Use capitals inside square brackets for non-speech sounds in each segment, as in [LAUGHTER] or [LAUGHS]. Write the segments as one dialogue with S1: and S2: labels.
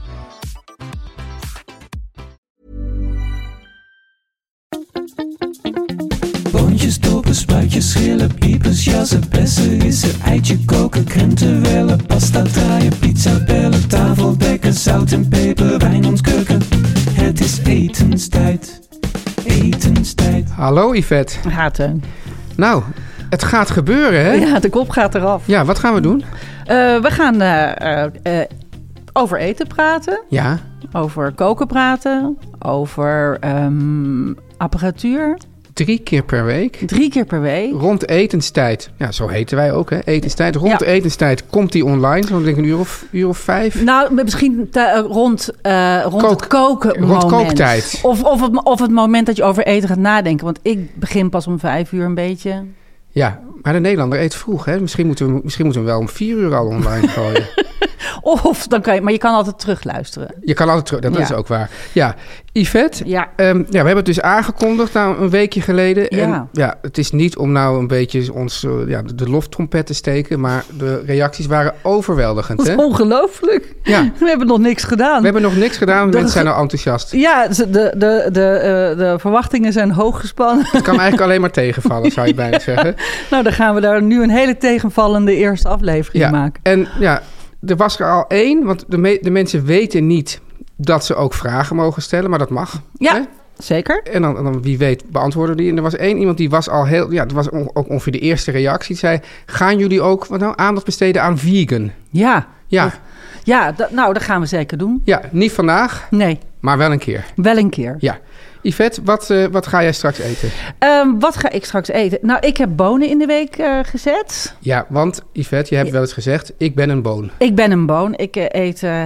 S1: Boontjes, dopen, spuitjes, schillen, piepers, jassen, bessen, rissen, eitje koken, krenten wellen, pasta draaien, pizza bellen, tafel dekken, zout en peper, wijn ontkurken. Het is etenstijd, etenstijd.
S2: Hallo Yvette.
S3: Gaat hè?
S2: Nou, het gaat gebeuren, hè? Ja,
S3: Ja, de kop gaat eraf.
S2: wat gaan we doen?
S3: Eh, we gaan eh, eh, eh, over eten praten,
S2: Ja,
S3: over koken praten, over ehm, apparatuur.
S2: drie keer per week.
S3: Drie keer per week.
S2: Rond etenstijd. Ja, zo heten wij ook, hè? Etenstijd. Rond
S3: Ja.
S2: etenstijd komt die online. Zo denk ik een uur of, uur of vijf.
S3: Nou, misschien te- eh, rond, eh, rond
S2: Kook-
S3: het koken
S2: rond
S3: moment.
S2: kooktijd.
S3: Of, of, het, of het moment dat je over eten gaat nadenken. Want ik begin pas om vijf uur een beetje.
S2: Ja, maar de Nederlander eet vroeg, hè? Misschien moeten we, misschien moeten we hem wel om vier uur al online
S3: [LAUGHS]
S2: gooien.
S3: Of, dan kan je, maar je kan altijd terugluisteren.
S2: Je kan altijd terug, dat
S3: Ja.
S2: is ook waar. Ja, Yvette,
S3: Ja.
S2: Ehm, ja, we hebben het dus aangekondigd nou, een weekje geleden. En
S3: Ja.
S2: ja, het is niet om nou een beetje ons, eh, ja, de de loftrompet te steken, maar de reacties waren overweldigend.
S3: Dat
S2: Hè?
S3: is ongelooflijk.
S2: Ja.
S3: We hebben nog niks gedaan.
S2: We hebben nog niks
S3: [LAUGHS]
S2: gedaan,
S3: Dat
S2: mensen
S3: is-
S2: zijn al enthousiast.
S3: Ja, ze- de, de, de, eh, de verwachtingen zijn hoog gespannen.
S2: Het kan eigenlijk alleen maar tegenvallen,
S3: [LAUGHS]
S2: zou je bijna zeggen.
S3: Nou, dan gaan we daar nu een hele tegenvallende eerste aflevering
S2: Ja.
S3: maken.
S2: En ja, er was er al één, want de, me- de mensen weten niet dat ze ook vragen mogen stellen, maar dat mag.
S3: Ja,
S2: Hè?
S3: zeker.
S2: En dan, dan wie weet beantwoorden die. En er was één iemand die was al heel, ja, dat was on- ook ongeveer de eerste reactie. Die zei, gaan jullie ook wat nou, aandacht besteden aan vegan?
S3: Ja,
S2: Ja,
S3: ja dat, nou, dat gaan we zeker doen.
S2: ja, niet vandaag,
S3: Nee,
S2: maar wel een keer.
S3: wel een keer.
S2: Ja. Yvette, wat, eh, wat ga jij straks eten?
S3: Ehm, wat ga ik straks eten? Nou, ik heb bonen in de week eh, gezet.
S2: Ja, want Yvette, je hebt wel eens gezegd, ik ben een boon.
S3: Ik ben een boon. Ik eh, eet eh,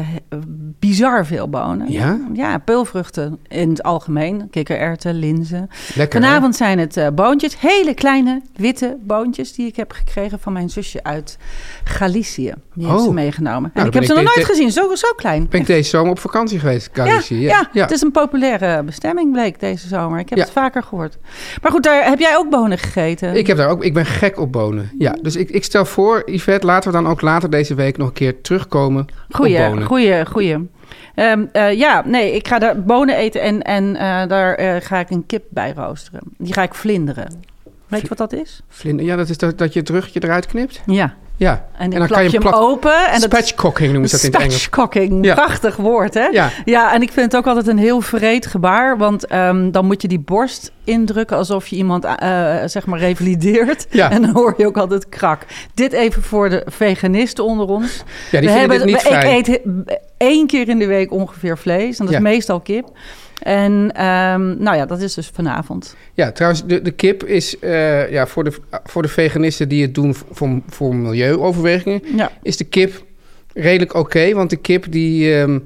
S3: bizar veel bonen.
S2: Ja?
S3: Ja, peulvruchten in het algemeen. Kikkererwten, linzen.
S2: Lekker, hè?
S3: Vanavond zijn het eh, boontjes. Hele kleine witte boontjes die ik heb gekregen van mijn zusje uit Galicië. Die heeft
S2: Oh.
S3: ze meegenomen.
S2: dan
S3: en ik
S2: ben
S3: heb
S2: ik
S3: ze nog
S2: de-
S3: nooit
S2: de-
S3: gezien. Zo, zo klein.
S2: Ben ik deze zomer op vakantie geweest, Galicië?
S3: ja, ja,
S2: dus-
S3: het is een populaire bestemming bleek deze zomer. Ik heb
S2: Ja.
S3: het vaker gehoord. Maar goed, daar heb jij ook bonen gegeten.
S2: Ik, heb daar ook, ik ben gek op bonen. Ja, dus ik, ik stel voor, Yvette, laten we dan ook later deze week nog een keer terugkomen
S3: goeie,
S2: op bonen.
S3: goeie, goeie. Ehm, eh, ja, nee, ik ga daar bonen eten en, en eh, daar eh, ga ik een kip bij roosteren. Die ga ik vlinderen. Weet je wat dat is?
S2: Vlinder, ja, dat is dat, dat je het ruggetje eruit knipt.
S3: Ja.
S2: Ja,
S3: En, dan klap je hem open. En dat is-
S2: Spatchcocking noemen ze dat in het Engels.
S3: Spatchcocking,
S2: Ja.
S3: prachtig woord hè?
S2: Ja.
S3: en ik vind het ook altijd een heel vreed gebaar, want ehm, dan moet je die borst indrukken alsof je iemand eh, eh, zeg maar revalideert.
S2: [LAUGHS] Ja.
S3: En dan hoor je ook altijd krak. Dit even voor de veganisten onder ons.
S2: Ja, die
S3: We
S2: vinden dit
S3: hebben-
S2: niet
S3: ik
S2: fijn.
S3: eet he- één keer in de week ongeveer vlees, en dat
S2: Ja.
S3: is meestal kip. En ehm, nou ja, dat is dus vanavond.
S2: Ja, trouwens, de, de kip is eh, ja, voor, de, voor de veganisten die het doen voor, voor milieuoverwegingen,
S3: Ja.
S2: is de kip redelijk oké. want de kip die, ehm,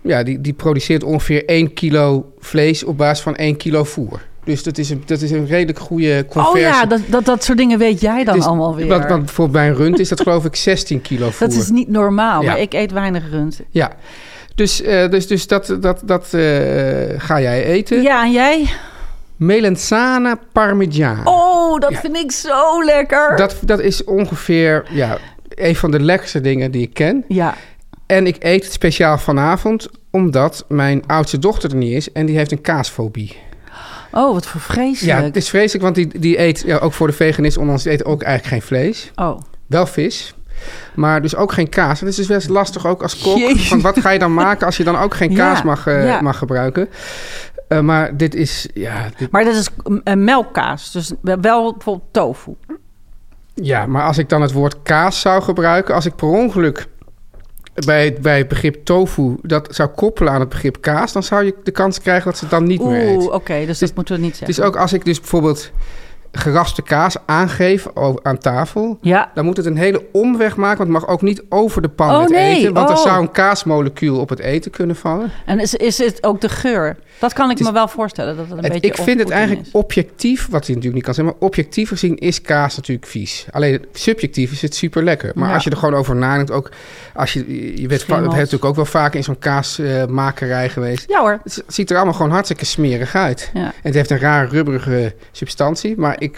S2: ja, die, die produceert ongeveer 1 kilo vlees op basis van 1 kilo voer. Dus dat is een, dat is een redelijk goede
S3: Oh
S2: conversie.
S3: ja, dat, dat, dat soort dingen weet jij dan
S2: Het is-
S3: allemaal weer.
S2: Want, want bijvoorbeeld bij een rund is dat geloof ik 16 kilo voer.
S3: [LAUGHS] dat is niet normaal,
S2: Ja.
S3: maar ik eet weinig rund.
S2: Ja, dus, eh, dus, dus dat, dat, dat eh, ga jij eten.
S3: Ja, en jij?
S2: Melenzana parmigiana.
S3: Oh, dat
S2: Ja.
S3: vind ik zo lekker.
S2: Dat, dat is ongeveer ja, een van de lekkerste dingen die ik ken.
S3: Ja,
S2: En ik eet het speciaal vanavond omdat mijn oudste dochter er niet is en die heeft een kaasfobie.
S3: oh, wat voor
S2: Ja, dus-
S3: vreselijk.
S2: het is vreselijk, want die, die eet, ja, ook voor de veganist onder ons, die eet ook eigenlijk geen vlees.
S3: Oh,
S2: Wel vis, maar dus ook geen kaas. Dat is dus best lastig ook als kok,
S3: Jezus.
S2: want wat ga je dan maken als je dan ook geen
S3: [LAUGHS] Ja,
S2: kaas mag, eh,
S3: ja.
S2: mag gebruiken? Eh, maar dit is, ja, dit-
S3: Maar dat is eh, melkkaas, dus wel bijvoorbeeld tofu.
S2: ja, maar als ik dan het woord kaas zou gebruiken, als ik per ongeluk bij het, bij het begrip tofu dat zou koppelen aan het begrip kaas, dan zou je de kans krijgen dat ze het dan niet meer
S3: Oeh,
S2: eet.
S3: oké, dus
S2: is-
S3: dat moeten we niet
S2: Het
S3: zeggen.
S2: is ook als ik dus bijvoorbeeld geraspte kaas aangeef o- aan tafel,
S3: Ja,
S2: dan moet het een hele omweg maken, want het mag ook niet over de pan
S3: Oh,
S2: met
S3: nee,
S2: eten, want
S3: oh.
S2: er zou een kaasmolecuul op het eten kunnen vallen.
S3: en is, is het ook de geur? Dat kan ik
S2: is-
S3: me wel voorstellen, dat het een
S2: Het-
S3: beetje
S2: ik vind het
S3: opvoeding
S2: eigenlijk
S3: is.
S2: objectief, wat je natuurlijk niet kan zeggen, maar objectief gezien is kaas natuurlijk vies. Alleen subjectief is het super lekker. Maar
S3: Ja.
S2: als je er gewoon over nadenkt, ook als je, je bent, va-
S3: Schimmels.
S2: hebt natuurlijk ook wel vaak in zo'n kaasmakerij geweest.
S3: Ja hoor.
S2: Het ziet er allemaal gewoon hartstikke smerig uit.
S3: Ja.
S2: En het heeft een raar rubberige substantie. Maar ik,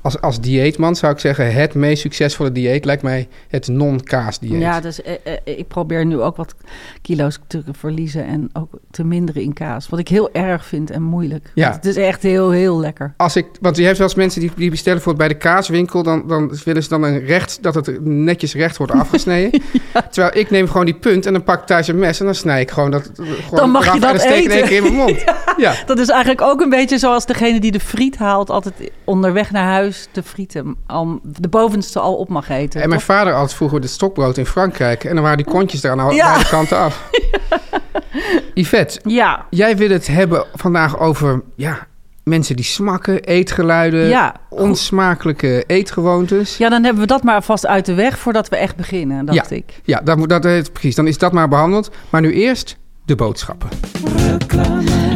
S2: als, als dieetman zou ik zeggen, het meest succesvolle dieet lijkt mij het non-kaas dieet.
S3: Ja, dus eh, eh, ik probeer nu ook wat kilo's te verliezen en ook te minderen in kaas. Wat ik heel erg vind en moeilijk.
S2: Ja.
S3: Want Het is echt heel, heel lekker.
S2: Als ik, want je hebt wel eens mensen die, die bestellen voor bij de kaaswinkel, dan, dan willen ze dan een recht, dat het netjes recht wordt
S3: [LAUGHS]
S2: afgesneden. Terwijl ik neem gewoon die punt en dan pak ik thuis een mes en dan snij ik gewoon dat gewoon
S3: Dan mag je
S2: eraf en
S3: dat
S2: dan steek ik in één
S3: eten.
S2: keer in mijn
S3: [LAUGHS]
S2: mond. ja.
S3: Dat is eigenlijk ook een beetje zoals degene die de friet haalt... altijd onderweg naar huis de frieten, al, de bovenste al op mag eten.
S2: En mijn
S3: toch?
S2: vader had vroeger het stokbrood in Frankrijk en dan waren die kontjes er aan alle
S3: Ja.
S2: beide kanten
S3: [LAUGHS]
S2: af. Yvette,
S3: Ja,
S2: jij wil het hebben vandaag over ja, mensen die smakken, eetgeluiden,
S3: ja.
S2: onsmakelijke eetgewoontes.
S3: ja, dan hebben we dat maar vast uit de weg voordat we echt beginnen, dacht ik.
S2: Ja, dat, moet- dat, dat, precies. Dan is dat maar behandeld. Maar nu eerst de boodschappen.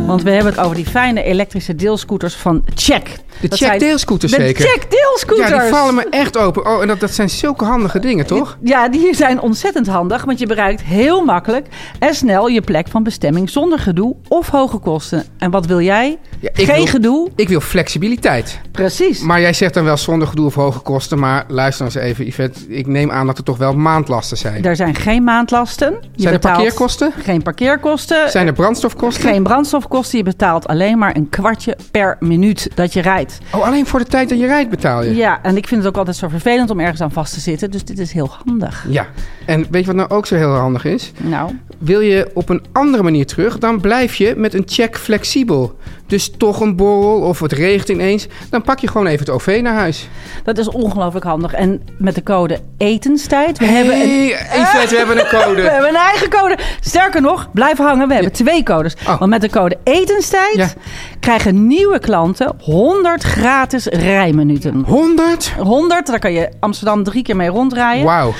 S3: Want we hebben het over die fijne elektrische deelscooters van Check.
S2: De
S3: Dat
S2: check
S3: zijn-
S2: deelscooters
S3: De
S2: zeker.
S3: Check deelscooters!
S2: Ja, die vallen me echt open. Oh, en dat, dat zijn zulke handige dingen, toch?
S3: Ja, die zijn ontzettend handig, want je bereikt heel makkelijk en snel je plek van bestemming zonder gedoe of hoge kosten. En wat wil jij?
S2: Ja, ik
S3: Geen
S2: wil-
S3: gedoe.
S2: Ik wil flexibiliteit.
S3: Precies.
S2: Maar jij zegt dan wel zonder gedoe of hoge kosten. Maar luister eens even, Yvette. Ik neem aan dat er toch wel maandlasten zijn.
S3: er zijn geen maandlasten. Je
S2: zijn er
S3: betaalt
S2: parkeerkosten?
S3: Geen parkeerkosten.
S2: Zijn er brandstofkosten?
S3: geen brandstofkosten. Je betaalt alleen maar een kwartje per minuut dat je rijdt.
S2: Oh, alleen voor de tijd dat je rijdt betaal je?
S3: Ja, en ik vind het ook altijd zo vervelend om ergens aan vast te zitten. Dus dit is heel handig.
S2: Ja. En weet je wat nou ook zo heel handig is?
S3: Nou,
S2: Wil je op een andere manier terug, dan blijf je met een check flexibel. Dus toch een borrel of het regent ineens, dan pak je gewoon even het OV naar huis.
S3: dat is ongelooflijk handig. En met de code etenstijd. We
S2: Hey,
S3: hebben een
S2: Yvette, we hebben een
S3: [LAUGHS] We
S2: code.
S3: hebben een eigen code. Sterker nog, blijf hangen. We hebben twee codes.
S2: Oh.
S3: Want met de code etenstijd
S2: Ja.
S3: krijgen nieuwe klanten 100 gratis rijminuten.
S2: 100?
S3: 100, daar kan je Amsterdam drie keer mee rondrijden.
S2: Wauw.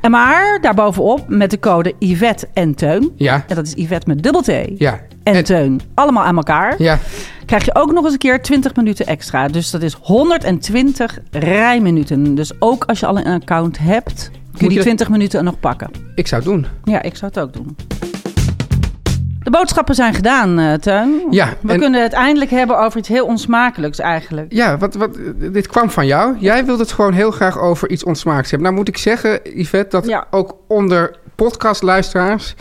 S3: En Maar daarbovenop met de code Yvette en Teun.
S2: Ja.
S3: En dat is Yvette met dubbel T.
S2: Ja.
S3: En,
S2: En-
S3: Teun. Allemaal aan elkaar.
S2: Ja.
S3: Krijg je ook nog eens een keer 20 minuten extra. Dus dat is 120 rijminuten. Dus ook als je al een account hebt, kun je
S2: je
S3: die
S2: dat-
S3: 20 minuten nog pakken.
S2: Ik zou het doen.
S3: Ja, ik zou het ook doen. De boodschappen zijn gedaan, eh Teun.
S2: Ja,
S3: We
S2: en-
S3: kunnen het eindelijk hebben over iets heel onsmakelijks eigenlijk.
S2: Ja, wat, wat, dit kwam van jou. Jij wilde het gewoon heel graag over iets ontsmaaks hebben. Nou moet ik zeggen, Yvette, dat
S3: Ja.
S2: ook onder podcastluisteraars...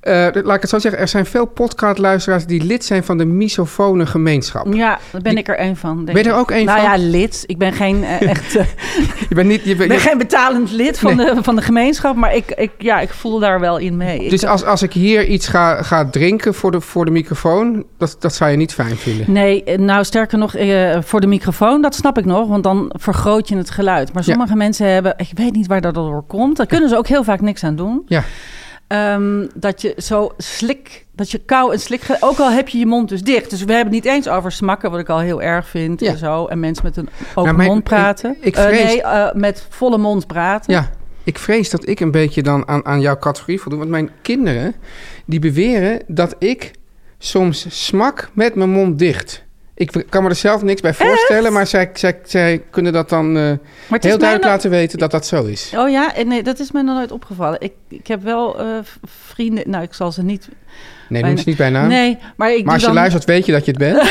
S2: eh, laat ik het zo zeggen, er zijn veel podcastluisteraars die lid zijn van de misofone gemeenschap.
S3: Ja, daar ben
S2: Die-
S3: ik er één van. Denk
S2: Ben je
S3: ik.
S2: er ook één
S3: nou
S2: van?
S3: ja, lid. Ik ben geen, eh, echt, eh,
S2: [LAUGHS] Je bent niet, je
S3: ik
S2: bent,
S3: ben
S2: je-
S3: geen betalend lid van, de, van de gemeenschap, maar ik, ik, ja, ik voel daar wel in mee. Ik-
S2: Dus als, als ik hier iets ga, ga drinken voor de, voor de microfoon, dat, dat zou je niet fijn vinden.
S3: Nee, eh, nou sterker nog, eh, voor de microfoon, dat snap ik nog, want dan vergroot je het geluid. Maar
S2: Ja.
S3: sommige mensen hebben, ik weet niet waar dat door komt, daar kunnen ze ook heel vaak niks aan doen.
S2: Ja.
S3: Ehm, dat je zo slik, dat je kou en slik, ge- ook al heb je je mond dus dicht. Dus we hebben het niet eens over smakken, wat ik al heel erg vind
S2: Ja.
S3: en zo. En mensen met een open
S2: Nou, maar ik-
S3: mond praten.
S2: ik- ik
S3: Eh,
S2: vrees-
S3: nee, eh, met volle mond praten.
S2: Ja, ik vrees dat ik een beetje dan aan, aan jouw categorie voldoe. Want mijn kinderen, die beweren dat ik soms smak met mijn mond dicht. Ik kan me er zelf niks bij voorstellen, maar zij, zij, zij kunnen dat dan eh,
S3: maar het is
S2: heel
S3: mij
S2: duidelijk
S3: nog-
S2: laten weten dat dat zo is.
S3: Oh ja, Eh, nee, dat is mij nog nooit opgevallen. Ik, ik heb wel eh, v- vrienden, nou ik zal ze niet...
S2: Nee,
S3: Bijna.
S2: noem ze niet bij naam.
S3: Nee, maar ik
S2: Nou.
S3: doe
S2: maar als je
S3: dan...
S2: luistert, weet je dat je het
S3: [LAUGHS]
S2: bent.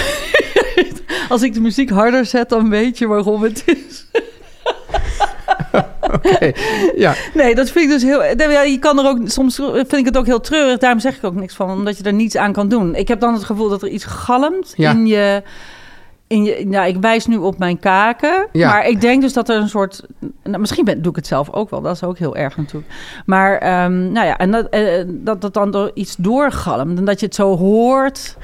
S3: Als ik de muziek harder zet, dan weet je waarom het is.
S2: ja.
S3: Nee, dat vind ik dus heel. nee, ja, Je kan er ook soms vind ik het ook heel treurig. Daarom zeg ik ook niks van, omdat je er niets aan kan doen. Ik heb dan het gevoel dat er iets galmt
S2: Ja.
S3: in je. In je, nou, ik wijs nu op mijn kaken.
S2: Ja.
S3: Maar ik denk dus dat er een soort. Nou, misschien ben, doe ik het zelf ook wel. Dat is ook heel erg natuurlijk. Maar ehm, nou ja, en dat, eh, dat dat dan door iets doorgalmt. En dat je het zo hoort.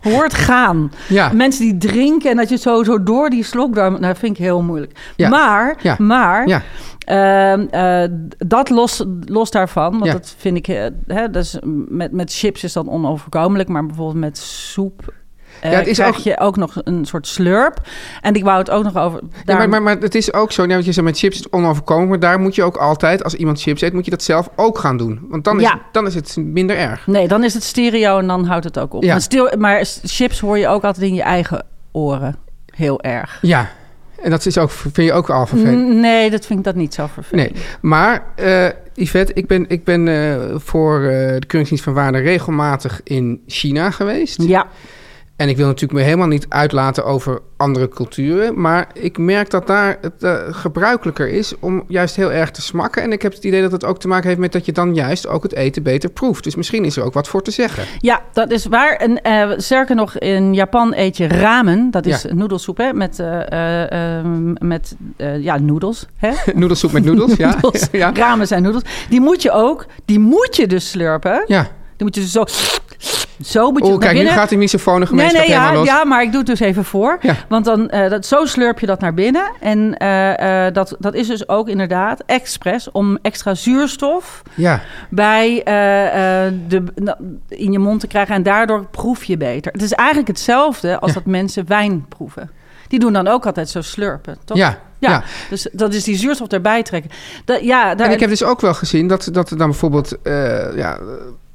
S3: hoort gaan.
S2: Ja.
S3: Mensen die drinken en dat je het zo, zo door die slok... Nou, dat vind ik heel moeilijk.
S2: Ja.
S3: Maar,
S2: Ja.
S3: maar...
S2: Ja.
S3: ehm, eh, dat los, los daarvan, want
S2: Ja.
S3: dat vind ik... eh, Hè, dus met, met chips is dat onoverkomelijk, maar bijvoorbeeld met soep... eh
S2: Ja, het is
S3: krijg
S2: ook-
S3: je ook nog een soort slurp. En ik wou het ook nog over...
S2: Ja, maar,
S3: daarom-
S2: maar, maar het is ook zo, net wat je zegt met chips is het onoverkomelijk. Maar daar moet je ook altijd, als iemand chips eet, moet je dat zelf ook gaan doen. Want dan is,
S3: Ja.
S2: het, dan is het minder erg.
S3: Nee, dan is het stereo en dan houdt het ook op.
S2: Ja.
S3: Maar, stil, maar s- chips hoor je ook altijd in je eigen oren. Heel erg.
S2: Ja, en dat is ook, vind je ook al vervelend.
S3: N- Nee, dat vind ik dat niet zo vervelend.
S2: Nee, maar eh, Yvette, ik ben, ik ben eh, voor eh, de Keuringsdienst van Waarde regelmatig in China geweest.
S3: Ja,
S2: En ik wil natuurlijk me helemaal niet uitlaten over andere culturen. Maar ik merk dat daar het eh, gebruikelijker is om juist heel erg te smakken. En ik heb het idee dat het ook te maken heeft met dat je dan juist ook het eten beter proeft. Dus misschien is er ook wat voor te zeggen.
S3: ja, dat is waar. En eh sterker nog, in Japan eet je ramen. Dat is
S2: Ja.
S3: noedelsoep, hè? Met, eh, eh, eh, met eh, ja, noedels.
S2: [LAUGHS]
S3: Hè?
S2: Noedelsoep met noedels, ja.
S3: [LAUGHS] Noedels.
S2: [LAUGHS] ja.
S3: Ramen zijn noedels. Die moet je ook, die moet je dus slurpen.
S2: ja.
S3: Die moet je dus zo... Zo moet je
S2: Oh,
S3: het naar
S2: kijk, nu
S3: binnen.
S2: gaat die misofone gemeenschap
S3: ja,
S2: helemaal los.
S3: ja, maar ik doe het dus even voor.
S2: Ja.
S3: Want dan, eh, dat, zo slurp je dat naar binnen. En eh, eh, dat, dat is dus ook inderdaad expres om extra zuurstof
S2: Ja.
S3: bij, eh, eh, de, nou, in je mond te krijgen. En daardoor proef je beter. Het is eigenlijk hetzelfde als
S2: Ja.
S3: dat mensen wijn proeven. Die doen dan ook altijd zo slurpen, toch?
S2: Ja,
S3: Ja,
S2: ja.
S3: dus dat is die zuurstof erbij trekken. Dat, ja, daar,
S2: En ik heb dus ook wel gezien dat, dat er dan bijvoorbeeld eh, ja, eh,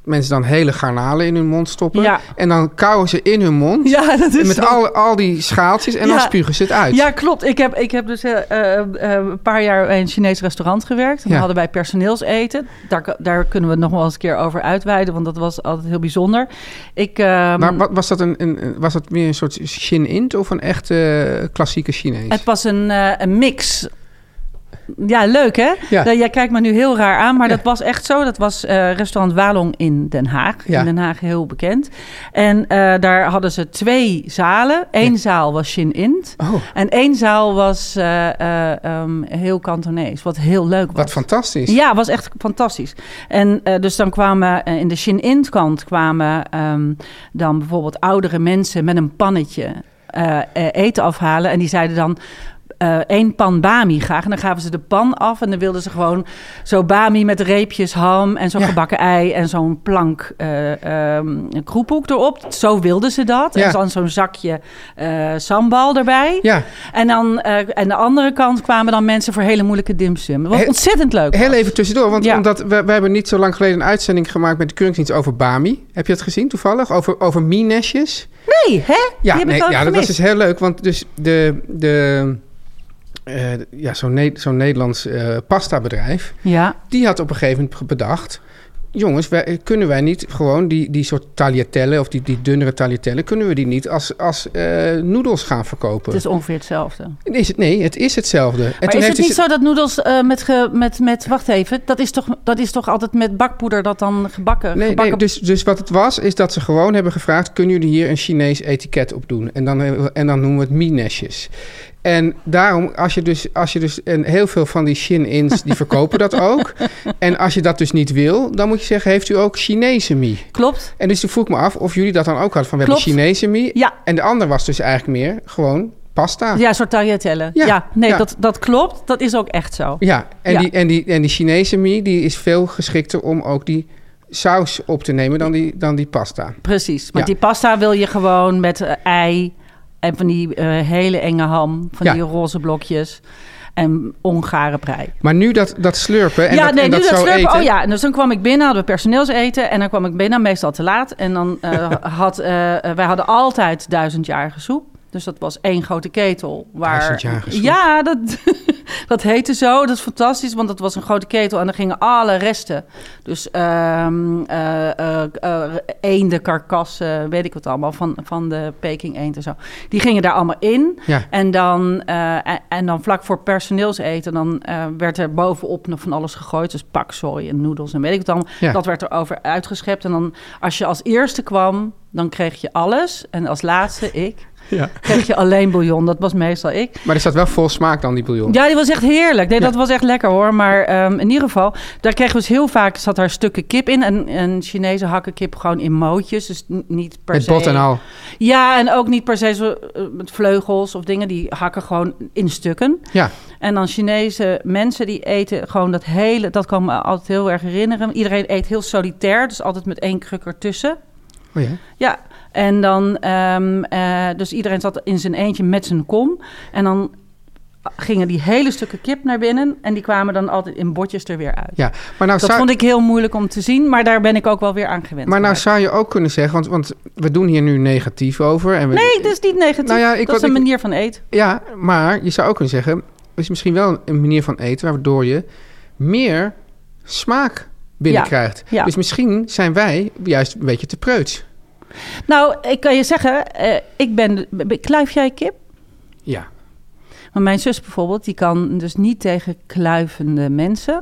S2: mensen dan hele garnalen in hun mond stoppen.
S3: Ja.
S2: En dan kauwen ze in hun mond
S3: [LAUGHS] ja, dat is
S2: met
S3: zo.
S2: al, al die schaaltjes en
S3: Ja.
S2: dan spugen ze het uit.
S3: Ja, klopt. Ik heb, ik heb dus eh, eh, eh, een paar jaar in een Chinees restaurant gewerkt.
S2: Ja.
S3: En We hadden bij personeelseten. Daar, daar kunnen we het nog wel eens een keer over uitweiden, want dat was altijd heel bijzonder. Ik, ehm,
S2: Maar wat, was, dat een, een, was dat meer een soort Shin-int of een echt eh, klassieke Chinees?
S3: Het was een, eh, een mix. Ja, leuk hè?
S2: Ja.
S3: Nou, Jij kijkt me nu heel raar aan, maar
S2: Ja.
S3: dat was echt zo. Dat was eh, restaurant Walong in Den Haag.
S2: Ja.
S3: In Den Haag heel bekend. En eh, daar hadden ze twee zalen. Eén zaal was Shin-Int.
S2: Oh,
S3: En één zaal was eh, eh, ehm, heel kantonees, wat heel leuk was.
S2: wat fantastisch.
S3: Ja, was echt fantastisch. En eh, dus dan kwamen eh, in de Shin-In kant kwamen ehm, dan bijvoorbeeld oudere mensen met een pannetje eh, eh, eten afhalen. En die zeiden dan eh, één pan bami graag. En dan gaven ze de pan af en dan wilden ze gewoon zo bami met reepjes ham en zo'n
S2: Ja.
S3: gebakken ei en zo'n plank eh ehm, kroephoek erop. Zo wilden ze dat.
S2: Ja.
S3: En dan zo'n zakje eh, sambal erbij.
S2: Ja.
S3: En dan eh aan de andere kant kwamen dan mensen voor hele moeilijke dimsum. Wat
S2: Heel-
S3: ontzettend leuk
S2: Heel
S3: was.
S2: even tussendoor, want
S3: Ja.
S2: omdat we, we hebben niet zo lang geleden een uitzending gemaakt met de Keuringsdienst over Bami. Heb je dat gezien toevallig? Over, over minestjes?
S3: Nee, hè?
S2: Ja,
S3: Die heb ik
S2: nee,
S3: ook
S2: ja dat was
S3: gemist.
S2: dus heel leuk. Want dus de, de, eh, ja, zo'n Ne- zo'n Nederlands eh pastabedrijf,
S3: Ja,
S2: die had op een gegeven moment bedacht... Jongens, wij, kunnen wij niet gewoon die, die soort tagliatelle of die, die dunnere tagliatelle... kunnen we die niet als, als eh, noedels gaan verkopen?
S3: het is ongeveer hetzelfde. Maar
S2: Is het, nee, het is hetzelfde. En toen
S3: Dus is het
S2: heeft
S3: niet
S2: dus-
S3: zo dat noedels eh, met, ge, met, met... Wacht even, dat is, toch, dat is toch altijd met bakpoeder dat dan gebakken...
S2: Nee, nee
S3: gebakken
S2: dus, dus wat het was, is dat ze gewoon hebben gevraagd... kunnen jullie hier een Chinees etiket op doen? En dan, hebben we- en dan noemen we het minesjes. En daarom, als je dus... Als je dus en heel veel van die Shin-ins, die verkopen
S3: [LAUGHS]
S2: dat ook. En als je dat dus niet wil, dan moet je zeggen... heeft u ook Chinese mi?
S3: Klopt?
S2: En dus toen vroeg ik me af of jullie dat dan ook hadden. Van, we hebben
S3: Klopt.
S2: Chinese mi.
S3: Ja.
S2: En de ander was dus eigenlijk meer gewoon pasta.
S3: Ja, een soort tagliatelle. Ja,
S2: Ja,
S3: nee,
S2: ja.
S3: Dat, dat klopt. Dat is ook echt zo.
S2: Ja, en,
S3: Ja.
S2: Die, en, die, en die Chinese mi die is veel geschikter om ook die saus op te nemen dan die, dan die pasta.
S3: Precies. Want
S2: Ja.
S3: die pasta wil je gewoon met eh, ei en van die eh, hele enge ham, van
S2: Ja.
S3: die roze blokjes en ongare prei.
S2: Maar nu dat, dat slurpen en
S3: ja,
S2: dat,
S3: nee,
S2: en
S3: nu
S2: dat, zo
S3: slurpen.
S2: eten...
S3: Oh ja, en dus dan kwam ik binnen, hadden we personeelseten. En dan kwam ik binnen, meestal te laat. En dan
S2: [LAUGHS]
S3: eh, had, eh, eh, wij hadden altijd duizendjarige soep. Dus dat was één grote ketel. Waar,
S2: Duizendjarige soep.
S3: Ja, dat, [LAUGHS] dat heette zo. Dat is fantastisch, want dat was een grote ketel. En dan gingen alle resten. Dus ehm eh eh eh, eenden, karkassen, weet ik wat allemaal. Van, van de Peking eend en zo. Die gingen daar allemaal in.
S2: Ja.
S3: En dan, eh, en, en dan vlak voor personeelseten, dan eh, werd er bovenop nog van alles gegooid. Dus pakzooi en noedels en weet ik wat allemaal.
S2: Ja.
S3: Dat werd er over uitgeschept. En dan als je als eerste kwam, dan kreeg je alles. En als laatste ik.
S2: Ja.
S3: Kreeg je alleen bouillon. Dat was meestal ik.
S2: Maar er staat wel vol smaak dan, die bouillon.
S3: Ja, die was echt heerlijk. Nee,
S2: Ja.
S3: dat was echt lekker hoor. Maar ehm, in ieder geval, daar kregen we dus heel vaak, zat daar stukken kip in. En, en Chinezen hakken kip gewoon in mootjes. Dus n- niet per
S2: Met
S3: se.
S2: bot en al.
S3: Ja, en ook niet per se zo, eh, met vleugels of dingen. Die hakken gewoon in stukken.
S2: Ja.
S3: En dan Chinese mensen die eten gewoon dat hele... Dat kan me altijd heel erg herinneren. Iedereen eet heel solitair. Dus altijd met één kruk ertussen.
S2: Oh ja.
S3: Ja, en dan, ehm, eh, dus iedereen zat in zijn eentje met zijn kom. En dan gingen die hele stukken kip naar binnen. En die kwamen dan altijd in bordjes er weer uit.
S2: ja. Maar nou,
S3: Dat
S2: zou,
S3: vond ik heel moeilijk om te zien, maar daar ben ik ook wel weer aan gewend.
S2: maar nou zou
S3: geraakt.
S2: je ook kunnen zeggen, want, want we doen hier nu negatief over. En we,
S3: Nee, dat is niet negatief.
S2: Nou ja, ik-
S3: dat is
S2: wat
S3: een
S2: ik-
S3: manier van eten.
S2: Ja, maar je zou ook kunnen zeggen, het is misschien wel een manier van eten waardoor je meer smaak binnenkrijgt.
S3: Ja, ja.
S2: Dus misschien zijn wij juist een beetje te preuts.
S3: Nou, ik kan je zeggen, eh, ik ben... Kluif jij kip?
S2: Ja.
S3: Maar mijn zus bijvoorbeeld, die kan dus niet tegen kluivende mensen.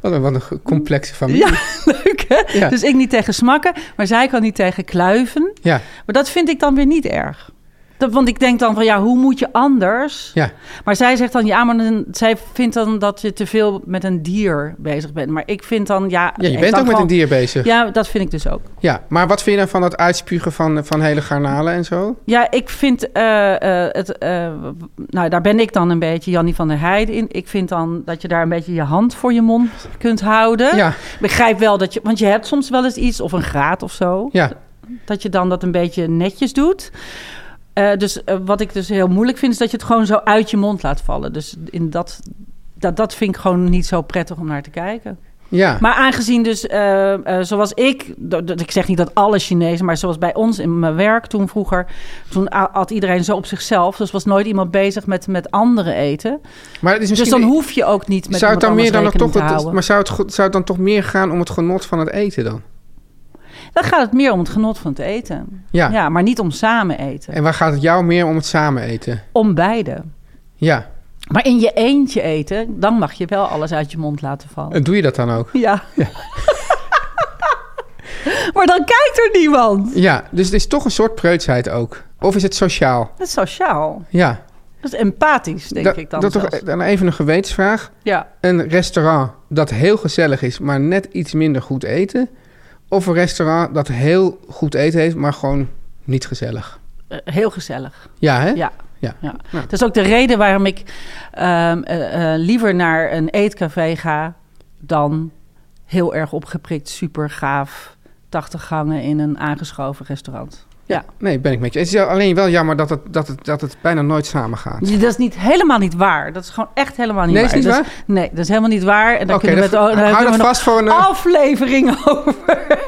S2: Wat een, wat een ge- complexe familie.
S3: Ja, [LAUGHS] leuk hè?
S2: Ja.
S3: Dus ik niet tegen smakken, maar zij kan niet tegen kluiven.
S2: Ja.
S3: Maar dat vind ik dan weer niet erg. Dat, want ik denk dan van ja, hoe moet je anders?
S2: Ja.
S3: Maar zij zegt dan ja, maar dan, zij vindt dan dat je te veel met een dier bezig bent. Maar ik vind dan ja.
S2: Ja, je
S3: ik
S2: bent
S3: kan
S2: ook met een
S3: gewoon-
S2: dier bezig. Ja.
S3: Ja, dat vind ik dus ook.
S2: maar wat vind je dan van dat uitspugen van, van hele garnalen en zo?
S3: Ja, ik vind eh, eh, het. eh, w- nou, daar ben ik dan een beetje Jannie van der Heijden in. Ik vind dan dat je daar een beetje je hand voor je mond kunt houden.
S2: Ja,
S3: Begrijp wel dat je. Want je hebt soms wel eens iets, of een graad of zo.
S2: ja.
S3: Dat je dan dat een beetje netjes doet. Eh, dus eh, wat ik dus heel moeilijk vind, is dat je het gewoon zo uit je mond laat vallen. Dus in dat, dat, dat vind ik gewoon niet zo prettig om naar te kijken.
S2: ja.
S3: Maar aangezien dus, eh, eh, zoals ik, dat- dat- ik zeg niet dat alle Chinezen, maar zoals bij ons in mijn werk toen vroeger, toen a- at iedereen zo op zichzelf. Dus was nooit iemand bezig met, met anderen eten.
S2: Maar het is
S3: Dus
S2: misschien...
S3: dan hoef je ook niet met
S2: zou het dan
S3: iemand
S2: meer dan
S3: anders
S2: nog toch
S3: rekening te
S2: het,
S3: houden.
S2: maar zou het, goed- zou het dan toch meer gaan om het genot van het eten dan?
S3: Dan gaat het meer om het genot van het eten.
S2: Ja.
S3: ja maar niet om samen eten.
S2: En waar gaat het jou meer om het samen eten?
S3: Om beide.
S2: Ja.
S3: Maar in je eentje eten, dan mag je wel alles uit je mond laten vallen.
S2: En doe je dat dan ook?
S3: Ja. [LAUGHS] maar dan kijkt er niemand.
S2: Ja, dus het is toch een soort preutsheid ook. Of is het sociaal?
S3: Dat is sociaal.
S2: Ja.
S3: Dat is empathisch, denk
S2: Da-
S3: ik dan.
S2: dat toch,
S3: zelfs.
S2: dan even een gewetensvraag.
S3: Ja.
S2: Een restaurant dat heel gezellig is, maar net iets minder goed eten. Of een restaurant dat heel goed eten heeft, maar gewoon niet gezellig.
S3: Eh, heel gezellig.
S2: Ja, hè?
S3: Ja.
S2: Ja. Nou. Ja.
S3: Dat is ook de reden waarom ik ehm, eh, eh, liever naar een eetcafé ga dan heel erg opgeprikt, super gaaf, 80 gangen in een aangeschoven restaurant. Ja.
S2: Nee, ben ik met je. Het is alleen wel jammer dat het, dat het, dat het bijna nooit samen gaat.
S3: Ja, Dat is niet, helemaal niet waar. Dat is gewoon echt helemaal niet
S2: Nee,
S3: waar.
S2: is niet
S3: Dat
S2: waar?
S3: nee, dat is helemaal niet waar. En daar
S2: Oké,
S3: kunnen we
S2: dan
S3: het ook- daar
S2: hou
S3: kunnen
S2: dat
S3: we nog
S2: vast voor een, eh,
S3: aflevering [LAUGHS] over